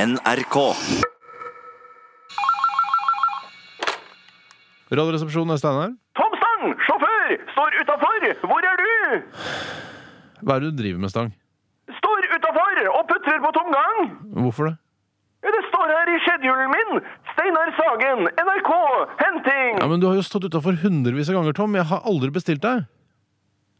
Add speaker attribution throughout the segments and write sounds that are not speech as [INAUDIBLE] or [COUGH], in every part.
Speaker 1: NRK.
Speaker 2: Radioresepsjonen er Steinar.
Speaker 3: Tom Stang, sjåfør, står utafor! Hvor er du?
Speaker 2: Hva er det du driver med, Stang?
Speaker 3: Står utafor og putrer på tomgang!
Speaker 2: Hvorfor det?
Speaker 3: Det står her i skjedhjulen min! Steinar Sagen, NRK, henting!
Speaker 2: Ja, men Du har jo stått utafor hundrevis av ganger, Tom. Jeg har aldri bestilt deg.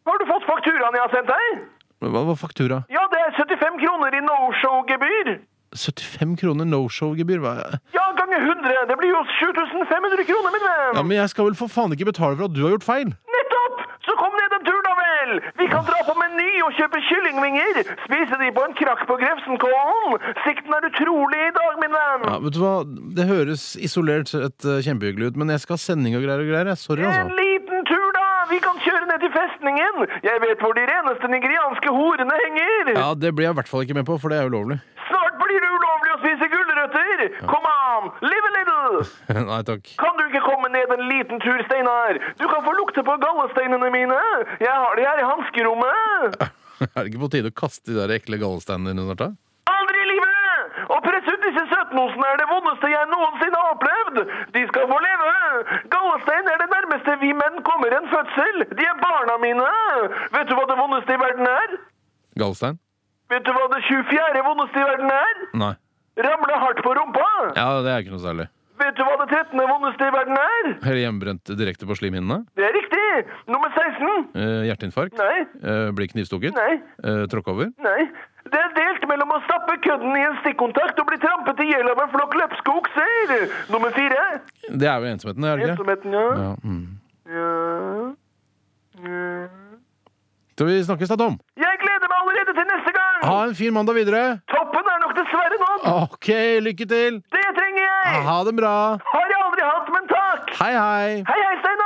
Speaker 3: Har du fått fakturaen jeg har sendt deg?
Speaker 2: Men Hva var faktura?
Speaker 3: Ja, det er 75 kroner i no-show-gebyr.
Speaker 2: 75 kroner no show-gebyr? Hva er
Speaker 3: Ja, ganger 100. Det blir jo 7500 kroner, min venn.
Speaker 2: Ja, Men jeg skal vel for faen ikke betale for at du har gjort feil!
Speaker 3: Nettopp! Så kom ned en tur, da vel! Vi kan dra på Meny og kjøpe kyllingvinger. Spise de på en krakk på Grefsenkollen. Sikten er utrolig i dag, min venn.
Speaker 2: Ja, vet du hva? Det høres isolert sett eh, kjempehyggelig ut, men jeg skal ha sending og greier og greier. jeg. Sorry,
Speaker 3: En
Speaker 2: altså.
Speaker 3: liten tur, da! Vi kan kjøre ned til festningen! Jeg vet hvor de reneste nigerianske horene henger!
Speaker 2: Ja, Det blir jeg i hvert fall ikke med på, for det er ulovlig.
Speaker 3: Snart blir det ulovlig å spise gulrøtter! Kom an! Live a little!
Speaker 2: [LAUGHS] Nei takk. [LAUGHS]
Speaker 3: Kan du ikke komme ned en liten tur, Steinar? Du kan få lukte på gallesteinene mine! Jeg har de her i hanskerommet!
Speaker 2: Er det ikke på tide å kaste de der ekle gallesteinene dine snart, da?
Speaker 3: Aldri i livet! Å presse ut disse søtmosene er det vondeste jeg noensinne har opplevd! De skal få leve! Gallestein er det nærmeste vi menn kommer en fødsel! De er barna mine! Vet du hva det vondeste i verden er?
Speaker 2: Gallestein?
Speaker 3: Vet du hva det 24. vondeste i verden er?
Speaker 2: Nei.
Speaker 3: Ramle hardt på rumpa!
Speaker 2: Ja, det er ikke noe særlig.
Speaker 3: Vet du hva det 13. vondeste i verden er?
Speaker 2: Eller hjemmebrent direkte på slimhinnene?
Speaker 3: Det er riktig! Nummer 16.
Speaker 2: Eh, hjerteinfarkt?
Speaker 3: Nei,
Speaker 2: Eh, bli knivstukket?
Speaker 3: nei,
Speaker 2: Eh, tråkke over?
Speaker 3: nei. Det er delt mellom å stappe kødden i en stikkontakt og bli trampet i hjel av en flokk løpske okser! Nummer fire.
Speaker 2: Det er jo ensomheten, er det ikke?
Speaker 3: Ensomheten, ja.
Speaker 2: Ja, mm.
Speaker 3: ja. Ja.
Speaker 2: Skal vi snakkes da, Tom?
Speaker 3: Jeg gleder meg allerede til neste gang!
Speaker 2: Ha en fin mandag videre!
Speaker 3: Toppen er nok dessverre nådd!
Speaker 2: Ok, lykke til!
Speaker 3: Det trenger jeg!
Speaker 2: Ha det bra!
Speaker 3: Har jeg aldri hatt, men takk!
Speaker 2: Hei, hei!
Speaker 3: Hei, hei, Steinar!